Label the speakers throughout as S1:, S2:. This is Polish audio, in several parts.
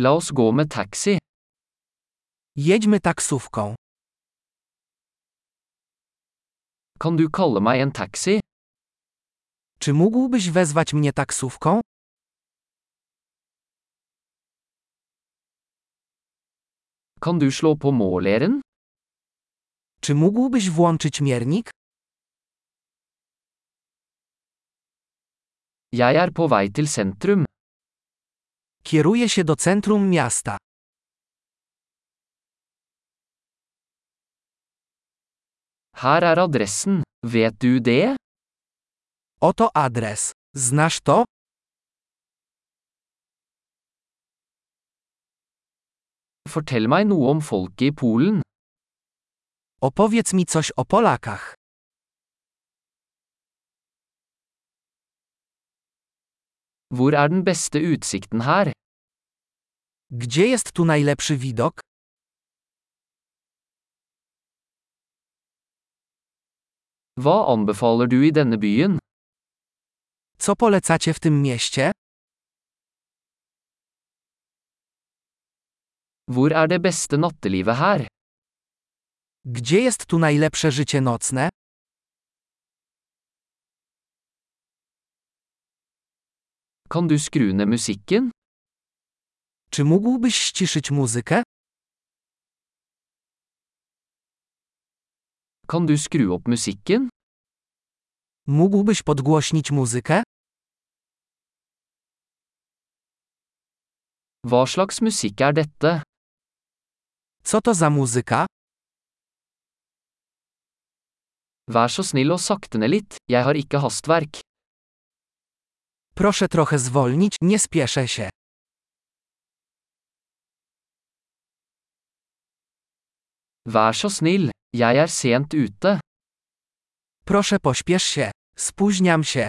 S1: La oss gå med taxi.
S2: Jedźmy taksówką.
S1: Kan du kalle meg en taxi?
S2: Czy mógłbyś wezwać mnie taksówką?
S1: Kan du slå på måleren?
S2: Czy mógłbyś włączyć miernik?
S1: Jeg er på vei til sentrum.
S2: Kieruję się do centrum miasta.
S1: Her er adressen. Vet du det?
S2: Oto adres. Znasz to?
S1: Fortell meg noe om folket i Polen.
S2: Opowiedz mi coś o Polakach.
S1: Hvor er den beste utsikten her?
S2: Gdzie jest tu najlepszy widok?
S1: Hva anbefaler du i denne byen?
S2: Co polecacie w tym mieście?
S1: Hvor er det beste nattelivet her?
S2: Gdzie jest tu najlepsze życie nocne?
S1: Kan du skru ned musikken?
S2: Czy mógłbyś ściszyć muzykę?
S1: Kan du skru opp musikken?
S2: Mógłbyś podgłośnić muzykę?
S1: Hva slags musikk er dette?
S2: Co to za muzyka?
S1: Vær så snill og sakte ned litt, jeg har ikke hastverk.
S2: Proszę trochę zwolnić, nie spieszę się.
S1: Vær så snill, jeg er sent ute.
S2: Proszę pośpiesz się. Spóźniam się.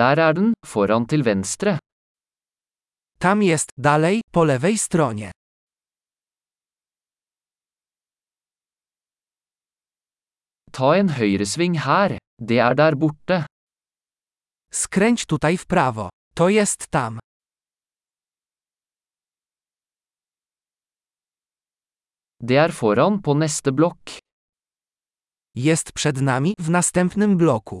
S1: Der er den, foran til venstre.
S2: Tam jest, dalej, po lewej stronie.
S1: Ta en høyresving her. Det er der borte.
S2: Skręć tutaj w prawo. To jest tam.
S1: Det er foran på neste blokk.
S2: Jest przed nami, w następnym bloku.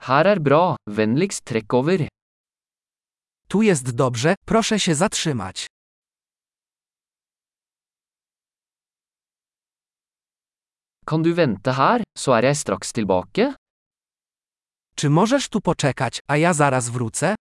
S1: Her er bra, vennligst trekk over.
S2: Tu jest dobrze, proszę się zatrzymać.
S1: Kan du vente her, så er jeg straks tilbake?
S2: Czy możesz tu poczekać, a ja zaraz wrócę?